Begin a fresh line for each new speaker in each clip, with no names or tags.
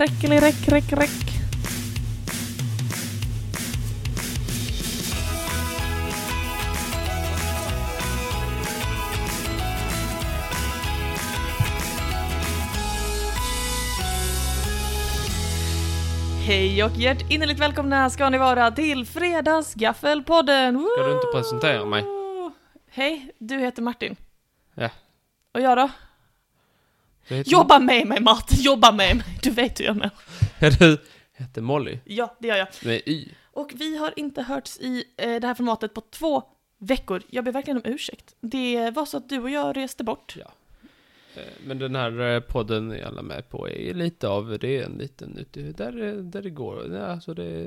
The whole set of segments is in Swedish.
Räckeli, räck, räck, räck. Hej och hjärt innerligt välkomna ska ni vara till Fredagsgaffelpodden! Woo!
Ska du inte presentera mig?
Hej, du heter Martin.
Ja.
Och jag då?
Du heter,
Jobba med mig Martin, jobba med mig! Du vet hur jag menar.
Ja, Du heter Molly
Ja, det gör jag.
med Y.
Och vi har inte hörts i eh, det här formatet på två veckor. Jag ber verkligen om ursäkt. Det var så att du och jag reste bort.
Ja. Eh, Men den här eh, podden är alla med på är ju lite av, det är en liten ute, där, eh, där det går, Ja, alltså det,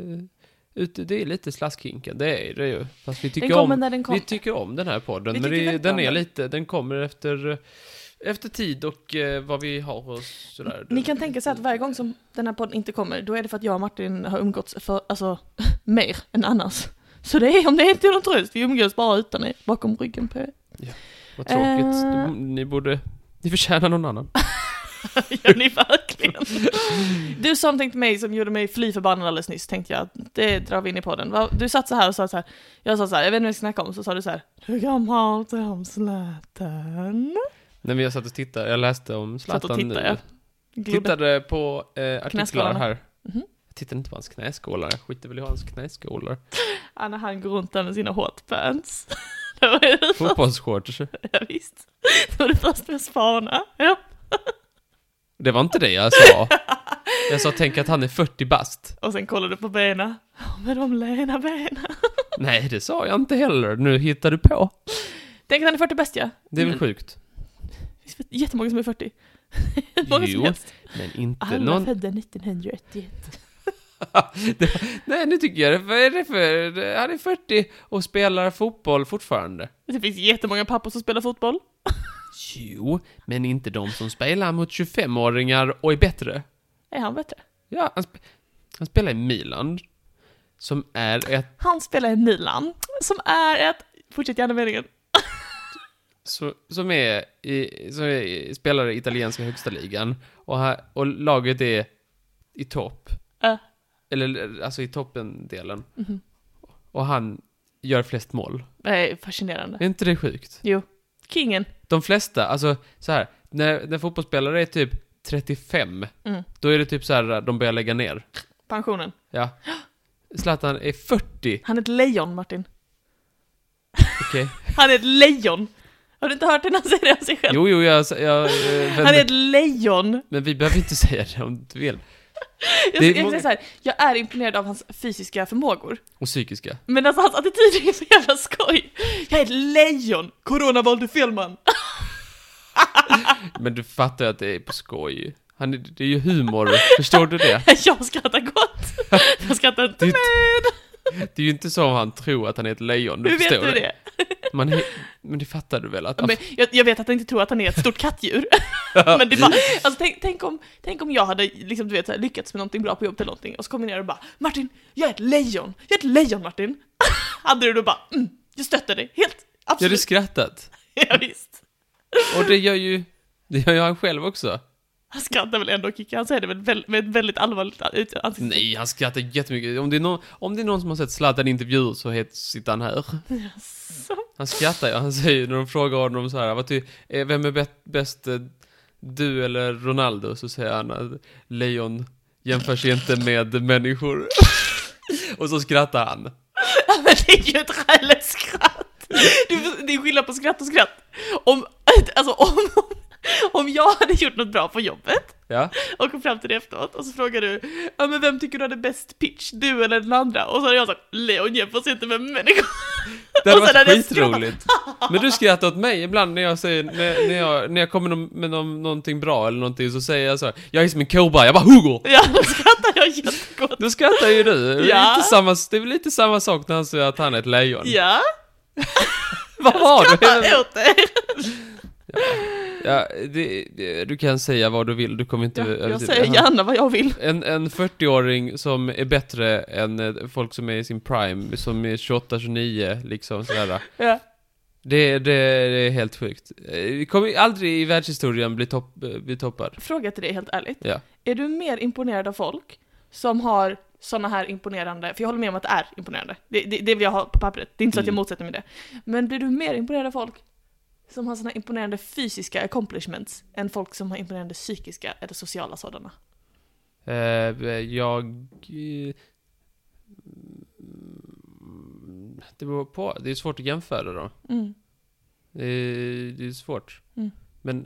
ute, det är lite slaskhinken, det är det ju. Fast vi
Den
tycker,
kommer
om,
när den
vi
kommer.
tycker om den här podden,
Vi
men
tycker
det,
väldigt
den
om
är
den.
lite, den kommer efter, eh, efter tid och eh, vad vi har och sådär.
Ni kan tänka sig att varje gång som den här podden inte kommer, då är det för att jag och Martin har umgåtts för, alltså, mer än annars. Så det är, om det inte är någon tröst, vi umgås bara utan er, bakom ryggen på er.
Vad tråkigt,
Eh.
Du- ni borde, ni förtjänar någon annan.
Gör ni verkligen? Du som tänkte mig, som gjorde mig fly förbannad alldeles nyss, tänkte jag, det drar vi in i podden. Va? Du satt så här och sa så här, jag sa så här, jag vet inte vad vi ska snacka om, så sa du så här, du kan prata om Zlatan.
Nej men jag satt och tittade, jag läste om
Satt och
Zlatan nu.
tittade, ja. Glodde.
Tittade på eh, artiklar
Knäskålarna.
här.
Mhm.
Jag tittade inte på hans knäskålar, jag skiter väl i hans knäskålar.
Ja, när han går runt där med sina hotpants. Det var det första,
Fotbollsshorts.
ja, visst. Det var det första jag spanade. Ja.
Det var inte det jag sa. Jag sa tänk att han är 40 bast.
Och sen kollade du på benen. Ja, Med de lena benen.
Nej, det sa jag inte heller. Nu hittar du på.
Tänk att han är 40 bäst ja.
Det är väl
Men-
sjukt?
Det finns jättemånga som är 40. Hur många som
Jo,
helst.
Men inte
Alla
någon...
födda 1981.
Nej, nu tycker jag det. Vad är det för... Han är 40 och spelar fotboll fortfarande.
Det finns jättemånga pappor som spelar fotboll.
Jo, men inte de som spelar mot 25-åringar och är bättre.
Är han bättre?
Ja, han, sp- han spelar i Milan. Som är ett
Han spelar i Milan, som är ett... Fortsätt gärna meningen.
Så, som är, i, som är, spelar i italienska högsta ligan. Och, här, och laget är i topp.
Ja.
Eller alltså i toppendelen.
Mhm.
Och han gör flest mål.
Det är fascinerande.
Är inte det sjukt?
Jo. Kingen.
De flesta, alltså så här, när, när fotbollsspelare är typ 35,
Mm.
då är det typ så här de börjar lägga ner.
Pensionen.
Ja. Zlatan är 40,
Han är ett lejon, Martin.
okej?
Han är ett lejon! Har du inte hört det när han säger det om sig själv?
Jo, jo, jag... jag eh,
Han är
men,
ett lejon!
men vi behöver inte säga det om du vill.
Jag,
Det
jag,
är många-
många... så här, jag är imponerad av hans fysiska förmågor.
Och psykiska.
Men alltså hans attityd är så jävla skoj! Jag är ett lejon! Corona valde fel man!
Men du fattar ju att det är på skoj. Han, är- det är ju humor, förstår du det?
Jag skrattar gott! Jag skrattar inte
Det är-
med!
Det är ju inte så han tror att han är ett lejon, du
Hur vet
förstår
du det?
Man är, men det fattar du väl? Att,
Men jag, jag vet att han inte tror att han är ett stort kattdjur. men det är bara, alltså, tänk, tänk, om, tänk om jag hade liksom, du vet, så här, lyckats med någonting bra på jobbet eller någonting och så kom jag ner och bara Martin, jag är ett lejon! Jag är ett lejon Martin! hade du då bara mm, jag stöttar dig helt,
jag hade
absolut.
skrattat.
Ja, visst.
Och det gör ju, det gör ju han själv också.
Han skrattar väl ändå Kikki, han säger det väl väl- med ett väldigt allvarligt ut- ansikte.
Nej, han skrattar jättemycket. Om det är någon, om det är någon som har sett Zlatan i intervjuer så het, sitter han här.
Så.
Han skrattar ju, han säger när de frågar honom så här, vad ty, eh, vem är bä- bäst, eh, du eller Ronaldo? Så säger han att lejon jämförs inte med människor. Och så skrattar han.
Ja, men det är ju ett skäligt skratt! Du, det är skillnad på skratt och skratt. Om, alltså, om, om jag hade gjort något bra på jobbet
Ja.
Och kom fram till det efteråt och så frågar du Ja men vem tycker du hade bäst pitch, du eller den andra? Och så hade jag sagt Leon jämförs inte med människor
Det hade
Och sen
varit
hade jag skrattat.
skitroligt. Men du skrattar åt mig ibland när jag säger, när, när jag, när jag kommer no- med no- någonting bra eller någonting så säger jag så här, jag är som en cowboy, jag bara hugger!
Ja då skrattar jag jättegott
Då skrattar ju du.
Ja.
Ja. Lite samma, det är väl lite samma sak när han säger att han är ett lejon.
Ja,
Vad var du?
jag åt er
Ja, det, det, du kan säga vad du vill, du kommer inte
jag, jag
övertyga-
säger gärna vad jag vill
En, en 40-åring som är bättre än eh, folk som är i sin prime, som är 28-29 liksom sådär.
ja.
Det, det, det är helt sjukt. Eh, Vi kommer ju aldrig i världshistorien bli, topp, eh, bli toppar.
Fråga till dig helt ärligt.
Ja.
Är du mer imponerad av folk som har såna här imponerande, för jag håller med om att det är imponerande, det, det, det vill jag ha på pappret, det är inte så att jag
Mm.
motsätter mig det. Men blir du mer imponerad av folk som har såna här imponerande fysiska accomplishments än folk som har imponerande psykiska eller sociala sådana?
Eh, jag... eh, mm, Det beror på. Det är svårt att jämföra då.
Mm.
Det är, det är svårt.
Mm.
Men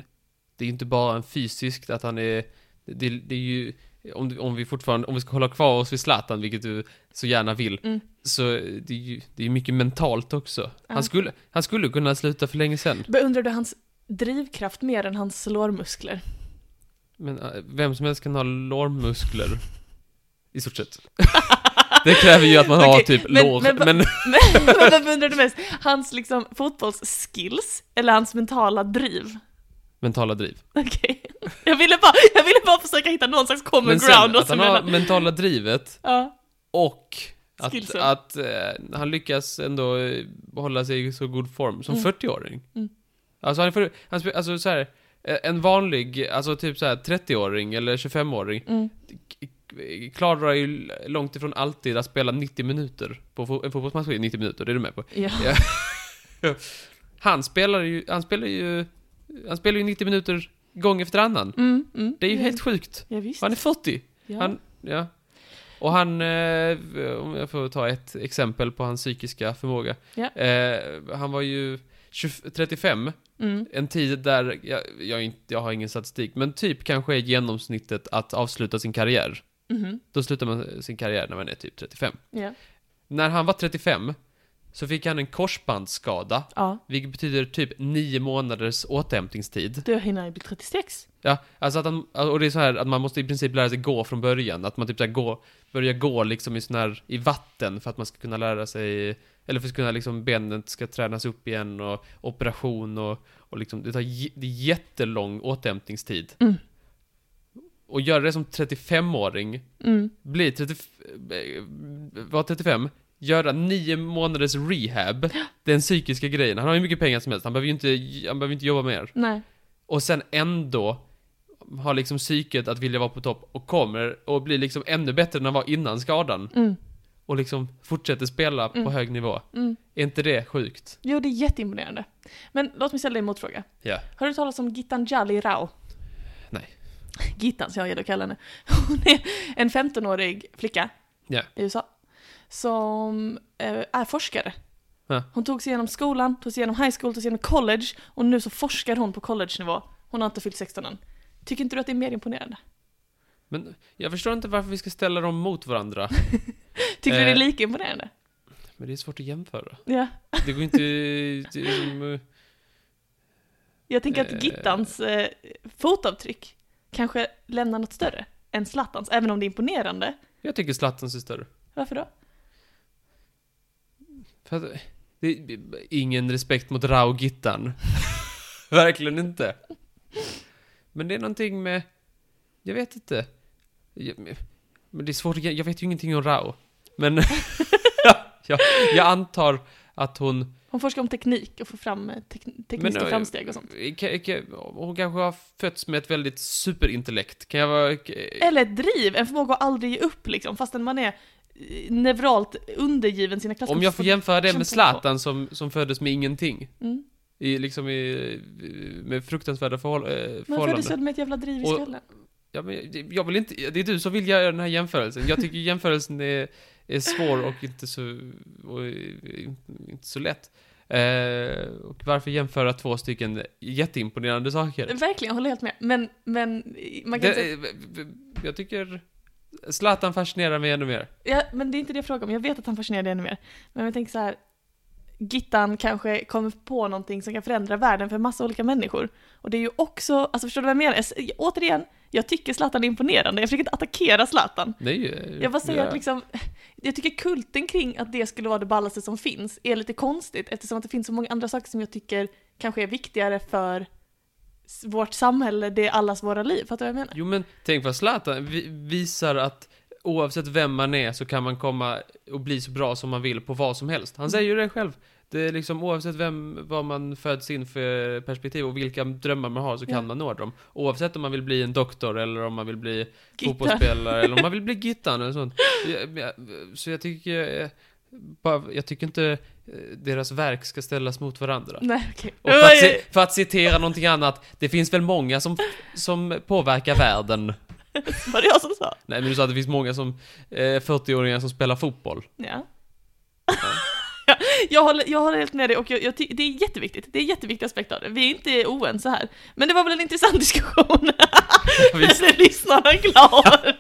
det är ju inte bara en fysiskt att han är... Det, det är ju... Om, du- om vi fortfarande, om vi ska hålla kvar oss vid Zlatan, vilket du så gärna vill,
Mm.
så det är ju det är mycket mentalt också.
Ja.
Han, skulle, han skulle kunna sluta för länge sedan.
Beundrar du hans drivkraft mer än hans lårmuskler?
Men eh, vem som helst kan ha lårmuskler. I stort sett. Det kräver ju att man har
Okej,
typ
men-
lår.
men vad-
Men,
Men vad beundrar du mest? Hans liksom fotbollsskills eller hans mentala driv?
mentala driv.
Okej. Jag, ville bara, jag ville bara försöka hitta någon slags common
Men
ground alltså
sen,
och
att
så
han har
mellan...
mentala drivet
Ja.
och att,
Skillsen.
att eh, han lyckas ändå eh, hålla sig i så god form som
Mm.
40-åring.
Mm.
Alltså, han är för, han, spe- alltså så här, eh, en vanlig, alltså typ så här 30-åring eller 25-åring
Mm.
k- klarar ju långt ifrån alltid att spela 90 minuter. På fo- en fotbollsmatch är 90 minuter, det är du med på.
ja.
Han spelar ju, han spelar ju, han spelar ju 90 minuter gång efter annan.
Mm, mm.
Det är ju
Ja.
helt sjukt.
Ja, visst.
Han är 40.
ja.
Han, ja. Och han, eh, om jag får ta ett exempel på hans psykiska förmåga.
Ja.
Eh, han var ju 20, 35,
Mm.
en tid där, jag, jag, är inte, jag har ingen statistik, men typ kanske är genomsnittet att avsluta sin karriär.
Mhm.
Då slutar man sin karriär när man är typ 35.
Ja.
När han var 35 så fick han en korsbandsskada,
ja.
vilket betyder typ 9 månaders återhämtningstid.
Du hinner ju bli 36.
Ja, alltså att han, och det är så här att man måste i princip lära sig gå från början. Att man typ så här gå, börjar gå liksom i sån här, i vatten för att man ska kunna lära sig, eller för att kunna liksom benet ska tränas upp igen och operation och, och liksom, det tar j- det är jättelång återhämtningstid.
Mm.
Och göra det som 35-åring,
Mm.
bli 30, eh, vara 35, göra nio månaders rehab, den psykiska grejen. Han har ju mycket pengar som helst, han behöver ju inte, han behöver inte jobba mer.
Nej.
Och sen ändå har liksom psyket att vilja vara på topp och kommer och blir liksom ännu bättre än han var innan skadan.
Mm.
Och liksom fortsätter spela
Mm.
på hög nivå.
Mm.
Är inte det sjukt?
Jo, det är jätteimponerande. Men låt mig ställa dig en motfråga.
Ja.
Har du talat om Gitanjali Rao?
Nej.
Gittan, som jag gillar att kalla henne. Hon är en 15-årig flicka
Ja.
i USA som eh, är forskare.
Ja.
Hon tog sig igenom skolan, tog sig igenom high school, tog sig igenom college och nu så forskar hon på college-nivå. Hon har inte fyllt 16 än. Tycker inte du att det är mer imponerande?
Men jag förstår inte varför vi ska ställa dem mot varandra.
Tycker du det är
Eh.
lika imponerande?
Men det är svårt att jämföra.
Ja.
Det går inte... det är som, eh,
Jag tänker att
Eh.
Gittans eh, fotavtryck kanske lämnar något större än Zlatans, även om det är imponerande.
jag tycker Zlatans är större.
Varför då?
För att, det är ingen respekt mot Rao Gittan. Verkligen inte. Men det är någonting med... Jag vet inte. Jag, men det är svårt att- Jag vet ju ingenting om Rao. Men... jag, jag antar att hon...
Hon forskar om teknik och får fram eh, tek- tekniska
Men, eh,
framsteg och sånt.
Ka- ka- Hon kanske har fötts med ett väldigt superintellekt. Kan jag vara...
Eller ett driv, en förmåga att aldrig ge upp liksom, fastän man är eh, neuralt undergiven sina klasskompisar.
Om jag får jämföra det
kämpa
med Zlatan som, som föddes med ingenting.
Mm.
I, liksom i, med fruktansvärda förhåll, eh,
Man
förhållanden.
föddes väl med ett jävla driv i
Och-
skallen?
Ja, men jag- jag vill inte, det är du som vill göra den här jämförelsen. Jag tycker jämförelsen är, är svår och inte så, och eh, inte så lätt. Eh, och varför jämföra två stycken jätteimponerande saker?
Verkligen, jag håller helt med. Men, men, eh, man kan säga,
Det, eh, jag tycker Zlatan fascinerar mig ännu mer.
ja, men det är inte det jag frågar om, jag vet att han fascinerar dig ännu mer. Men jag tänker så här, Gittan kanske kommer på någonting som kan förändra världen för en massa olika människor. Och det är ju också, alltså förstår du vad jag menar? Jag, s- återigen, jag tycker Zlatan är imponerande, jag försöker inte attackera Zlatan.
Det är ju...
Jag bara säger
ja.
att liksom, jag tycker kulten kring att det skulle vara det ballaste som finns är lite konstigt eftersom att det finns så många andra saker som jag tycker kanske är viktigare för s- vårt samhälle, det är allas våra liv. Fattar du vad jag menar?
Jo men tänk vad Zlatan vi- visar att oavsett vem man är så kan man komma och bli så bra som man vill på vad som helst. Han säger ju det själv. det är liksom oavsett vem, vad man föds in för perspektiv och vilka drömmar man har så kan
Ja.
man nå dem. Oavsett om man vill bli en doktor eller om man vill bli
Gittan.
fotbollsspelare eller om man vill bli Gittan eller sånt. Jag- jag- Så jag tycker, eh, bara, jag tycker inte eh, deras verk ska ställas mot varandra.
Nej, okej.
Och för, att ci- för att citera någonting annat, det finns väl många som, som påverkar världen.
Var det jag som sa?
Nej men du sa att det finns många som, eh, 40-åringar som spelar fotboll.
Ja. Ja, jag, håller, jag håller helt med dig och jag, jag, ty- det är jätteviktigt. Det är en jätteviktig aspekt av det. Vi är inte oense här. Men det var väl en intressant diskussion?
visst.
Eller lyssnarna glad?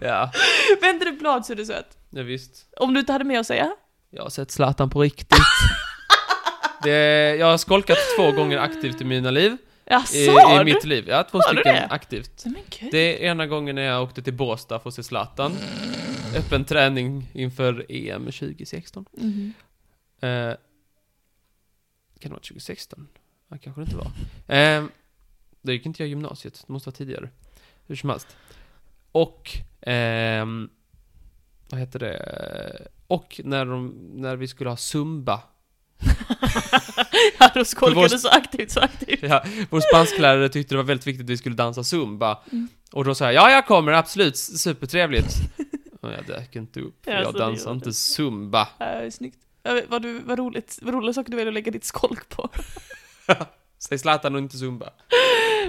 Ja,
Vänder du blad så är du söt.
ja visst.
Om du inte hade mer att säga?
Jag har sett Zlatan på riktigt. Det, jag har skolkat två gånger aktivt i mina liv.
Jaså?
I,
har
i
du?
mitt liv. Ja, två
Har du
stycken
det?
aktivt.
Nej, Men gud.
Det är ena gången när jag åkte till Båstad för att se Zlatan. Öppen träning inför E EM 2016.
Mhm.
Eh, kan det vara 2016? Ja, kanske det inte var. Eh, då gick inte jag gymnasiet, det måste vara tidigare. Hur som helst. Och, ehm, vad heter det? Och när, de, när vi skulle ha Zumba.
Ja, då skolkade
För
du
vår-
så aktivt, så aktivt.
Ja, vår spansklärare tyckte det var väldigt viktigt att vi skulle dansa Zumba.
Mm.
Och då sa jag, ja jag kommer, absolut, supertrevligt. Och jag dök inte upp, för
Ja, så
jag
det
dansar
gör
inte
du.
Zumba.
Uh, snyggt. Ja, vad, du, vad, roligt, vad roliga saker du väljer att lägga ditt skolk på.
Säg Zlatan och inte Zumba.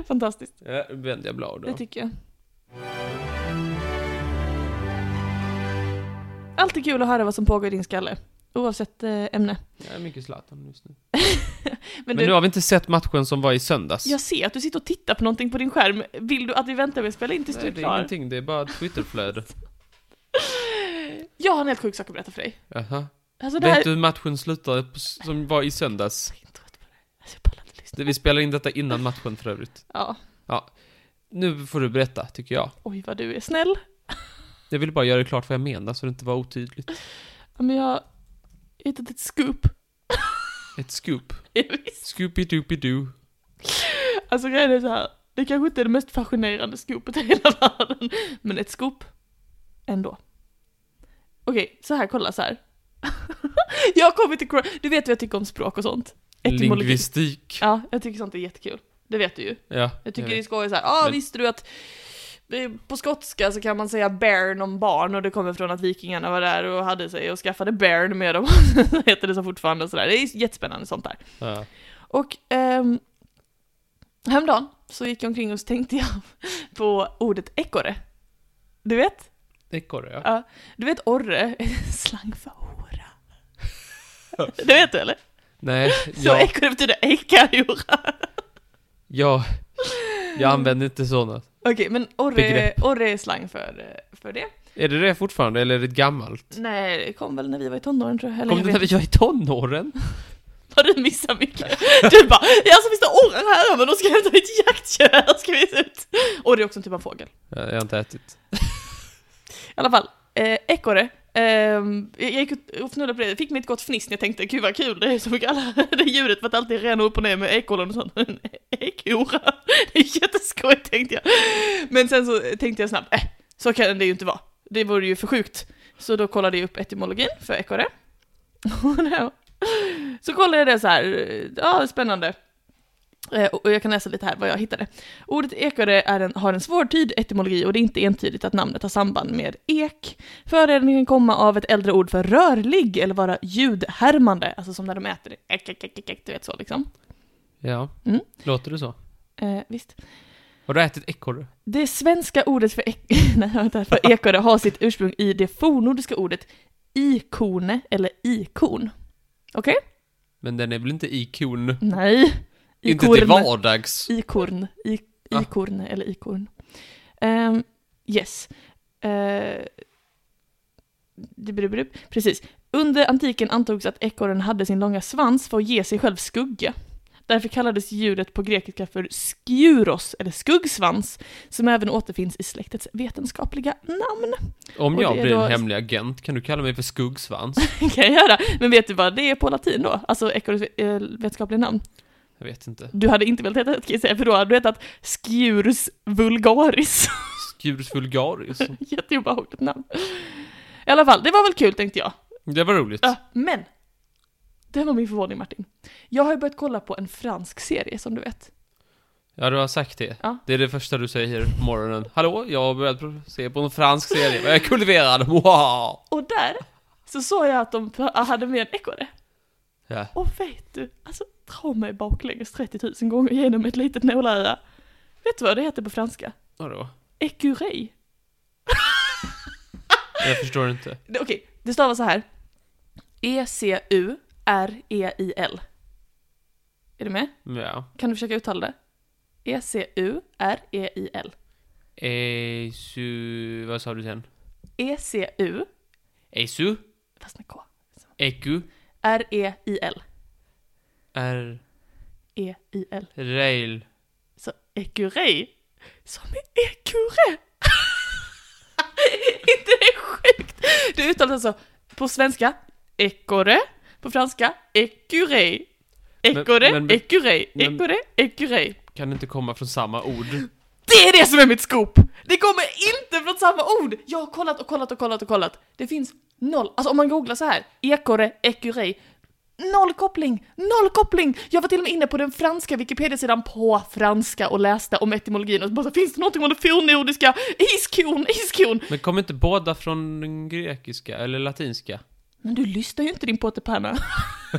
Fantastiskt,
Ja, då vände jag blad då.
det tycker jag. Alltid kul att höra vad som pågår i din skalle, oavsett eh, ämne.
Jag är mycket Zlatan just nu.
Men,
Men,
du,
nu har vi inte sett matchen som var i söndags.
jag ser att du sitter och tittar på någonting på din skärm. Vill du att vi väntar med att spela in tills
Nej,
du är
det är
klar?
ingenting, det är bara Twitterflöde.
Jag har en helt sjuk sak att berätta för dig.
Jaha.
Alltså det här...
Vet du hur matchen slutade på, som var i söndags?
Jag är trött på det. Alltså, jag pallar inte lyssna.
Det- Vi spelar in detta innan matchen för övrigt.
Ja,
Nu får du berätta, tycker jag.
oj vad du är snäll.
Jag ville bara göra det klart vad jag menar så det inte var otydligt.
Ja, Men jag har hittat ett scoop.
Ett scoop.
Visst.
Scoopy-doopy-doo.
Alltså grejen är så här. det kanske inte är det mest fascinerande skopet i hela världen, men ett skop ändå. Okej, så här, kolla så här. jag har kommit till Cro- Du vet vad jag tycker om språk och sånt? Etymologi.
Lingvistik.
Ja, jag tycker sånt är jättekul. Det vet du ju.
Ja,
Jag tycker det är
vet.
skoj såhär, ah,
Men-
visste du att eh, på skotska så kan man säga bairn om barn och det kommer från att vikingarna var där och hade sig och skaffade bairn med dem. Så heter det så fortfarande och sådär. Det är jättespännande sånt där.
Ja.
Och ehm, häromdagen så gick jag omkring och så tänkte jag på ordet ekorre. Du vet?
Ekorre, ja.
Ja. Du vet orre är slang för hora. Det vet du eller?
Nej,
Så
jag,
ekorre betyder ekorrhora.
jag, jag använder inte sådana.
Okej, men orre,
Begrepp.
orre är slang för, eh, för det.
Är det det fortfarande, eller är det gammalt?
Nej, det kom väl när vi var i tonåren tror jag. Eller
Kom
jag
det när vi var i tonåren?
Har du missat mycket? Du bara, ja så finns det orrar här men då ska jag hämta mitt jaktkör, ska vi se ut. Orre är också en typ av fågel.
Ja, Jag har inte ätit.
I alla fall, eh, ekorre. Ehm, jag gick ut och fnurrade på det, fick mig ett gott fniss när jag tänkte gud vad kul, det är så mycket alla, det djuret för att alltid rena upp och ner med ekollen och sånt. En ekorre, det är jätteskoj tänkte jag. Men sen så tänkte jag snabbt, eh, så kan det ju inte vara. Det vore ju för sjukt. Så då kollade jag upp etymologin för ekorre. Och då- så kollade jag det så här, ja spännande. Eh, Och och jag kan läsa lite här vad jag hittade. Ordet ekorre är en, har en svårtydd etymologi och det är inte entydigt att namnet har samband med ek. Förändringen kan komma av ett äldre ord för rörlig eller vara ljudhärmande, alltså som när de äter, ek, ek, ek, ek, ek, du vet så liksom.
Ja.
Mm.
Låter det så?
Eh, visst.
Har du ätit ekorre?
Det svenska ordet för, ek- Nej, vänta, för ekorre har sitt ursprung i det fornnordiska ordet ikone eller ikon. Okej?
Men den är väl inte i kon?
Nej.
Inte till vardags?
Ikorn. I,
Ah.
ikorn eller ikorn. Ehm, yes. Eh, dubbeldubbeldubb. precis. Under antiken antogs att ekorren hade sin långa svans för att ge sig själv skugga. Därför kallades djuret på grekiska för skuros, eller skuggsvans, som även återfinns i släktets vetenskapliga namn.
Om
Och
jag
det är
blir
då-
en hemlig agent, kan du kalla mig för skuggsvans?
kan jag göra. Men vet du vad det är på latin då? Alltså ekorrens eh, vetenskapliga namn.
Jag vet inte.
Du hade inte velat heta det, kan jag säga, för då hade du hetat sciurus vulgaris.
Skurs vulgaris.
Jätteobehagligt namn. I alla fall, det var väl kul tänkte jag.
Det var roligt.
Ja, men! Det här var min förvåning Martin. Jag har ju börjat kolla på en fransk serie som du vet.
Ja, du har sagt det.
Ja.
Det är det första du säger på morgonen. Hallå, jag har börjat pro- se på en fransk serie. Jag är kultiverad. Wow.
Och där så såg jag att de pr- hade med en ekorre.
Ja.
Och vet du, alltså dra mig baklänges 30 000 gånger genom ett litet nålöga. Vet du vad det heter på franska?
Vadå?
Écurie.
Jag förstår inte.
Det- Okej, det stavas så här. E E-C-U-R-E-I-L. E Är du med?
Ja.
Kan du försöka uttala det? E E-C-U-R-E-I-L.
Eisu... Vad sa du sen?
E-C-U,
Eisu?
E fast med K. E
Eku?
R-E-I-L.
R...
E E-I-L.
Rail?
Så écurie. Som i ekurre. Inte det är sjukt? Det uttalas alltså på svenska ekorre, på franska écurie.
men-
Ekorre,
men-
écurie,
men-
ekorre, écurie.
Kan inte komma från samma ord.
Det är det som är mitt scoop! Det kommer inte från samma ord! Jag har kollat och kollat och kollat och kollat. Det finns noll, alltså om man googlar så här, ekorre, ekurei, noll koppling, noll koppling! Jag var till och med inne på den franska Wikipedia-sidan på franska och läste om etymologin och bara så, finns det någonting om det fornnordiska? Iskorn, iskorn!
Men kom inte båda från den grekiska eller latinska?
Men du lyssnar ju inte din pottepanna.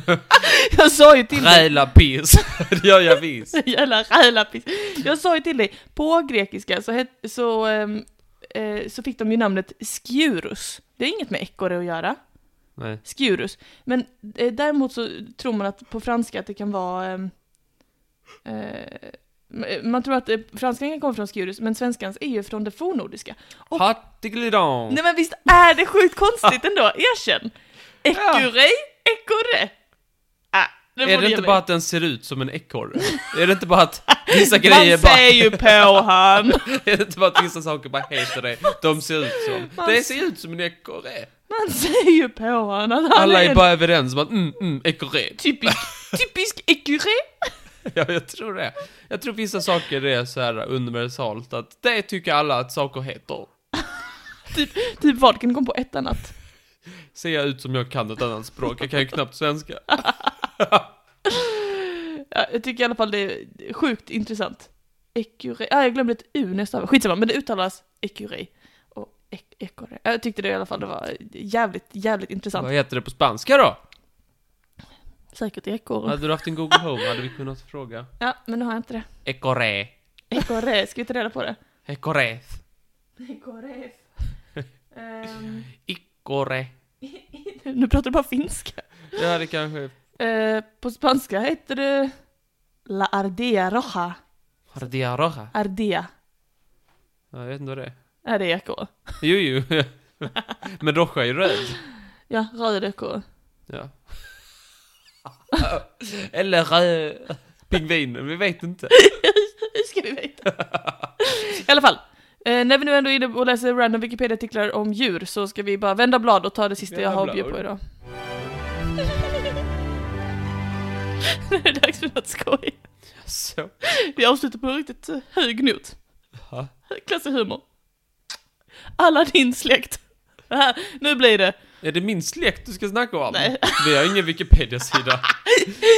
jag sa ju till dig,
Räla pis. Det gör jag visst.
jävla rälapis. Jag sa ju till dig, på grekiska så, het, så, ehm, eh, så fick de ju namnet skurus. Det är inget med ekorre att göra,
Nej.
skurus. Men eh, däremot så tror man att på franska att det kan vara... ehm, eh, m- man tror att eh, franskan kan komma från skurus, men svenskans är ju från det fornnordiska. Och-
Hattiglidon.
Nej men visst är det sjukt konstigt ändå, erkänn! Ekurei, ekorre! Ah, det får
Är
du
det
ge
inte
mig.
bara att den ser ut som en ekorre? är det inte bara att vissa grejer
Man
bara...
ser ju på han!
Är det inte bara att vissa saker bara heter det? De ser ut som...
Man-
Det ser ut som en ekorre.
Man ser ju på honom att han
Alla
är
är
en
bara överens om att mm, mm, ekorre.
typisk, typisk ekuré.
Ja, jag tror det. Jag tror vissa saker är så här universalt att det tycker alla att saker heter.
Typ vad kan du komma på ett annat?
Ser jag ut som jag kan ett annat språk? Jag kan ju knappt svenska.
Ja, jag tycker i alla fall det är sjukt intressant. Ekuré, ah, jag glömde ett u nästa skitsamma, men det uttalas ekuré. Och ek- ekorre. Ja, Jag tyckte det i alla fall det var jävligt, jävligt intressant.
Vad heter det på spanska då?
Säkert ekorre.
Hade du haft en Google Home hade vi kunnat fråga.
Ja, men nu har jag inte det.
Ekorre.
Ekorre, ska vi ta reda på det?
Ekorre.
Ekorre.
Ikorre.
Ehm, nu pratar du bara finska.
Ja, det kanske...
Eh, på spanska heter det La Ardea Roja.
Ardiaroja.
Ardea.
Ja, jag vet inte vad det är.
Är det ekorre?
Jo, jo. Men roja är ju röd.
Ja, röd ekorre.
Ja. Eller röd... Pingvinen, vi vet inte.
Hur ska vi veta? I alla fall. Eh, när vi nu ändå är inne och läser random Wikipedia-artiklar om djur så ska vi bara vända blad och ta det sista jag
Vända
har att bjuda på
blad.
idag. Nu är det dags för något skoj.
Så.
Vi avslutar på en riktigt eh, hög not.
Ja.
Klassisk humor. Alla din släkt. Det här, nu blir det.
Är det min släkt du ska snacka om?
Nej.
Vi har ingen Wikipedia-sida.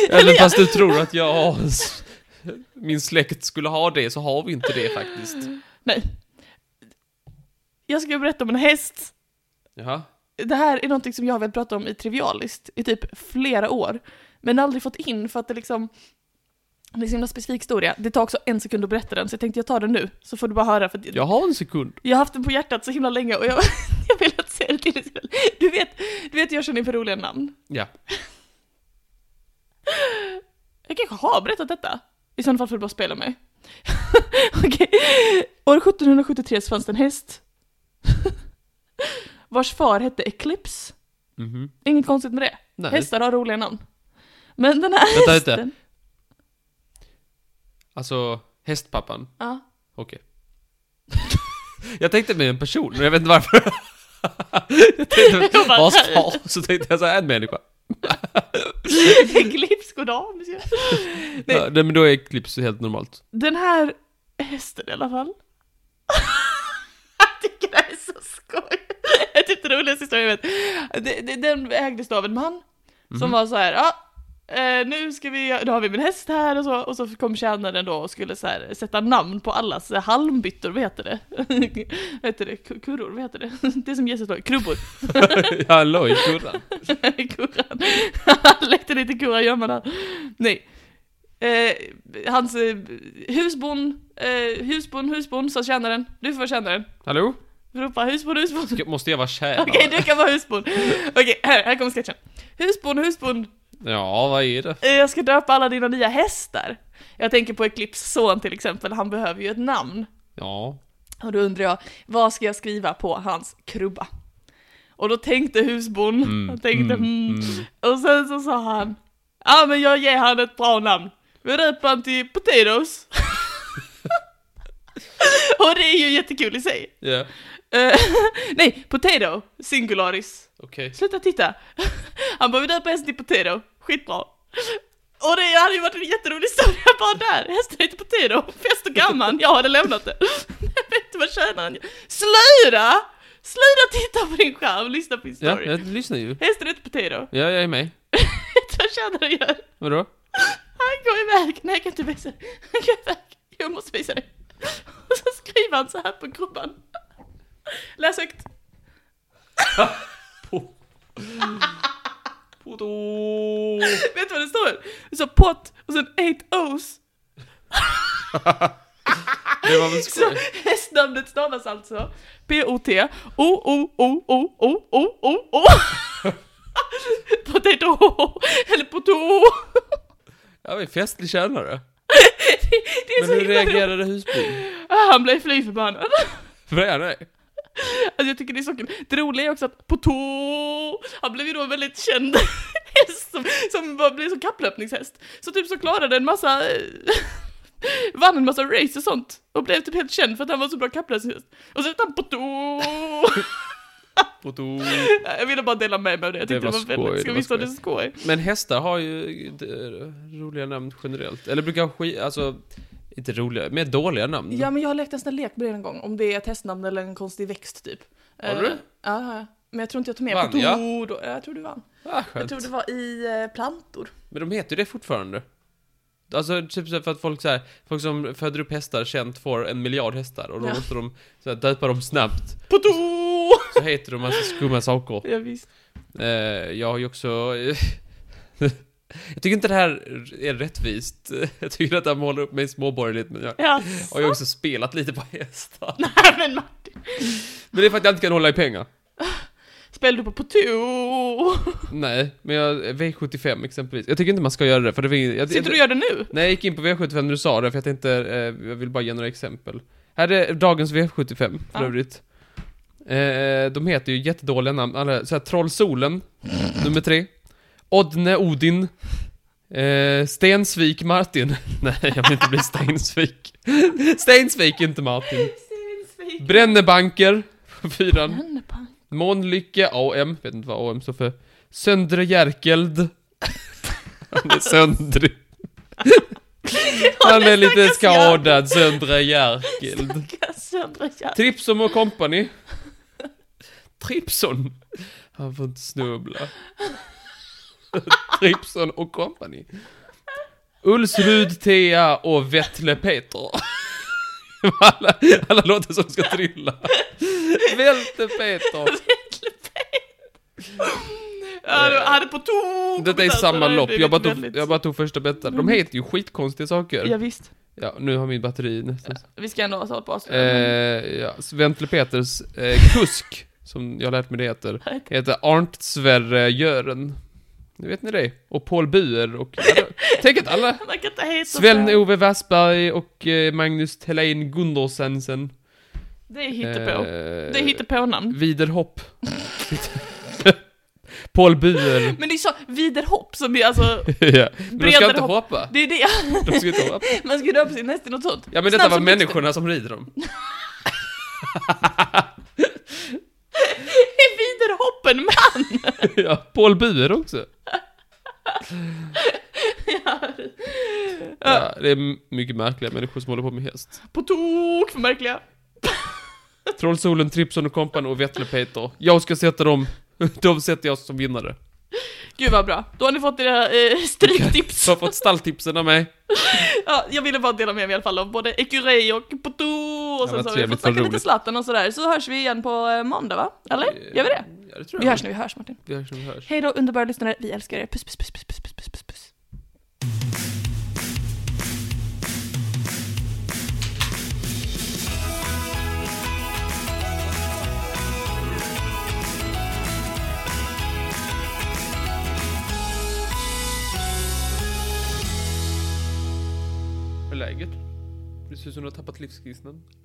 Även fast du tror att jag har... s- Min släkt skulle ha det, så har vi inte det faktiskt.
Nej. Jag ska berätta om en häst.
Jaha.
det här är någonting som jag har velat prata om i Trivialist i typ flera år, men aldrig fått in för att det liksom det är en så himla specifik historia. Det tar också en sekund att berätta den, så jag tänkte jag tar den nu, så får du bara höra. För att
Jag har en sekund.
Jag har haft den på hjärtat så himla länge och jag, jag vill att säga det till dig. Du vet, du vet jag känner inför roliga namn.
Ja.
Jag kanske har berättat detta. I sådana fall får du bara spela mig. Okej. År 1773 så fanns det en häst. Vars far hette Eclipse.
Mhm.
Inget konstigt med det.
Nej.
Hästar har roliga namn. Men den här
Vänta lite.
hästen...
Alltså, hästpappan.
Ja.
Okej. jag tänkte med en person, men jag vet inte varför. jag tänkte,
Jag bara,
vars
nej.
far? Så tänkte jag så här, en människa.
Eclipse, goddag monsieur. Nej.
Ja, nej, men då är Eclipse helt normalt.
Den här hästen i alla fall. jag tycker det här är så skoj. Det är typ den roligaste historien jag vet. Det- det- Den ägdes då av en man som var så här, ja, eh, nu ska vi, då har vi min häst här och så, och så kom tjänaren då och skulle så här, sätta namn på allas eh, halmbyttor, vad heter det? vad heter det? Ku- Kurror, vad heter det? det som Jesus la, krubbor.
ja, lojkurran.
Kurran. Han lekte lite kurragömma där. Nej. Eh, hans eh, husbon, eh, husbon, husbon, sa tjänaren. Du får vara tjänaren.
Hallå?
Ropa husbon, husbon.
Ska- Måste jag vara tjänare?
Okej, du kan vara husbond. Okej, här, här kommer sketchen. Husbond, husbond,
Ja, vad är det?
eh, jag ska döpa alla dina nya hästar. Jag tänker på Eclipse son till exempel, han behöver ju ett namn.
Ja.
Och då undrar jag, vad ska jag skriva på hans krubba? Och då tänkte husbond, han tänkte mm. Och sen så sa han, ja ah, men jag ger han ett bra namn. Vi döper han till Potatoes. Och det är ju jättekul i sig.
Ja.
Eh, nej, Potato, singularis.
Okej.
Sluta titta! Han bara, vi döper hästen till Potato, skitbra. Och det hade ju varit en jätterolig historia bara där, hästen heter Potato, fest och gammal, jag hade lämnat det. Jag vet inte vad tjänaren gör. Sluta! Sluta titta på din skärm, lyssna på din
Ja,
story.
jag lyssnar ju.
Hästen heter Potato,
Ja, jag är med.
vet du vad tjänaren gör?
Vadå?
Han går iväg, nej jag kan inte visa det. Han går iväg, jag måste visa det. Och så skriver han så här på grubban. Läs högt.
Podo!
Vet du vad det står? Det står pot och sen eight O's.
Det var väl
Så
skoj?
hästnamnet stavas alltså P-O-T O-O-O-O-O-O-O Potato Eller potato
Jag var ju festlig tjänare.
Det är
Men
så
hur
himla roligt.
reagerade husbyn?
Ah, Han blev fly förbannad
Vad är det?
Alltså jag tycker det är så kul Det roliga är också att potato Han blev ju då en väldigt känd häst Som, som bara blev som kapplöpningshäst Så typ så klarade en massa eh, Vann en massa race och sånt Och blev typ helt känd för att han var så bra kapplöpningshäst Och så hette han potato
Podo.
Ja, Jag ville bara dela med mig av det, jag tyckte det var,
skoj,
väldigt,
det
ska
var
vi stå det
skoj.
skoj?
Men hästar har ju eh, roliga namn generellt. Eller brukar ha skit, alltså, inte roliga, mer dåliga namn.
Ja men jag har lekt en sån där lek med det en gång, om det är ett hästnamn eller en konstig växt typ.
Har du?
Eh, Ja, det har jag. men jag tror inte jag tog med
Vann
på
jag?
to, då. Jag tror du vann.
Ah,
Jag
skönt.
tror det var i eh, plantor.
Men de heter ju det fortfarande. Alltså typ så här för att folk så här, folk som föder upp hästar känt får en miljard hästar och då
Ja.
måste de så här, döpa dem snabbt.
På to!
Så heter de massa skumma saker.
Ja, visst.
Eh, jag har ju också... jag tycker inte det här är rättvist. Jag tycker att det här målar upp mig småborgerligt men jag
Jaså?
har ju också spelat lite på hästar.
Nej men Martin,
Men det är för att jag inte kan hålla i pengar.
spelade du på potato?
Nej, men jag, V75 exempelvis. Jag tycker inte man ska göra det för det finns... jag-
Sitter du och gör det nu?
Nej, jag gick in på V75 när du sa det, för jag tänkte, eh, jag vill bara ge några exempel. Här är dagens V75, för
Ja.
övrigt. Eh, de heter ju jättedåliga namn, alla, så här, Trollsolen, nummer tre. Odne Odin. Eh, Stensvik Martin. Nej, jag vill inte bli Stensvik. Stensvik, inte Martin. Brännebanker, på fyran.
Brännpank.
Månlycke AM, vet inte vad AM står för. Söndre Jerkeld. Han är söndrig. Han är lite skadad, Söndre Jerkeld.
Söndra hjärtat.
Tripsom och Company. Tripson. Han får inte snubbla. Tripson och Company. Ulsrud, Thea och Vettle Peter. Alla, alla låter som ska trilla. Välte Peter.
Ja, du hade på to!
Eh, Detta är samma lopp, jag bara, tog, jag
bara...
bara tog första betan. De heter ju skitkonstiga
Mm. Ja,
saker.
visst.
Ja, nu har min batteri nästan...
Vi ska ändå ha sålt på oss.
Eh, ja, Sventle Peters eh, kusk, som jag har lärt mig det heter, heter Arnt Sverre Gören. Nu vet ni det. Och Paul Buer och... Tänk att alla...
Man kan inte heta så.
Sven-Ove Wassberg och eh, Magnus Helén Gundersensen.
Det är hittepå.
Eh,
Det är hittepånamn.
Viderhopp. Paul Buer.
Men det är så, Viderhopp som är alltså,
ja. Men de ska inte
Brederhopp.
hoppa.
det är det,
De ska inte hoppa.
man ska döpa sin häst till något sånt.
Ja men detta
Snabb
var
som blixten.
människorna som rider dem.
Är Viderhopp en man?
ja, Paul Buer också. Ja, det är m- mycket märkliga människor som håller på med häst.
På tok för märkliga.
Trollsolen, Tripson och Kompan och Vettle Peter. Jag ska sätta dem, de sätter jag som vinnare.
Gud vad bra. Då har ni fått era eh, stryktips.
Du har fått stalltipsen av mig.
Ja, jag ville bara dela med mig i alla fall av både Ecurey och Poteau och
Ja,
sen
vad
så har vi fått
trevligt, vad
snacka lite
roligt.
Zlatan och sådär. Så hörs vi igen på eh, måndag va? Eller? Gör vi det?
Ja, det tror jag.
Vi hörs när vi hörs Martin.
Vi hörs när vi hörs.
Hej då underbara lyssnare, vi älskar er. Puss puss puss puss puss puss puss puss.
Hur är läget? Det ser ut som du har tappat livsgnisslan.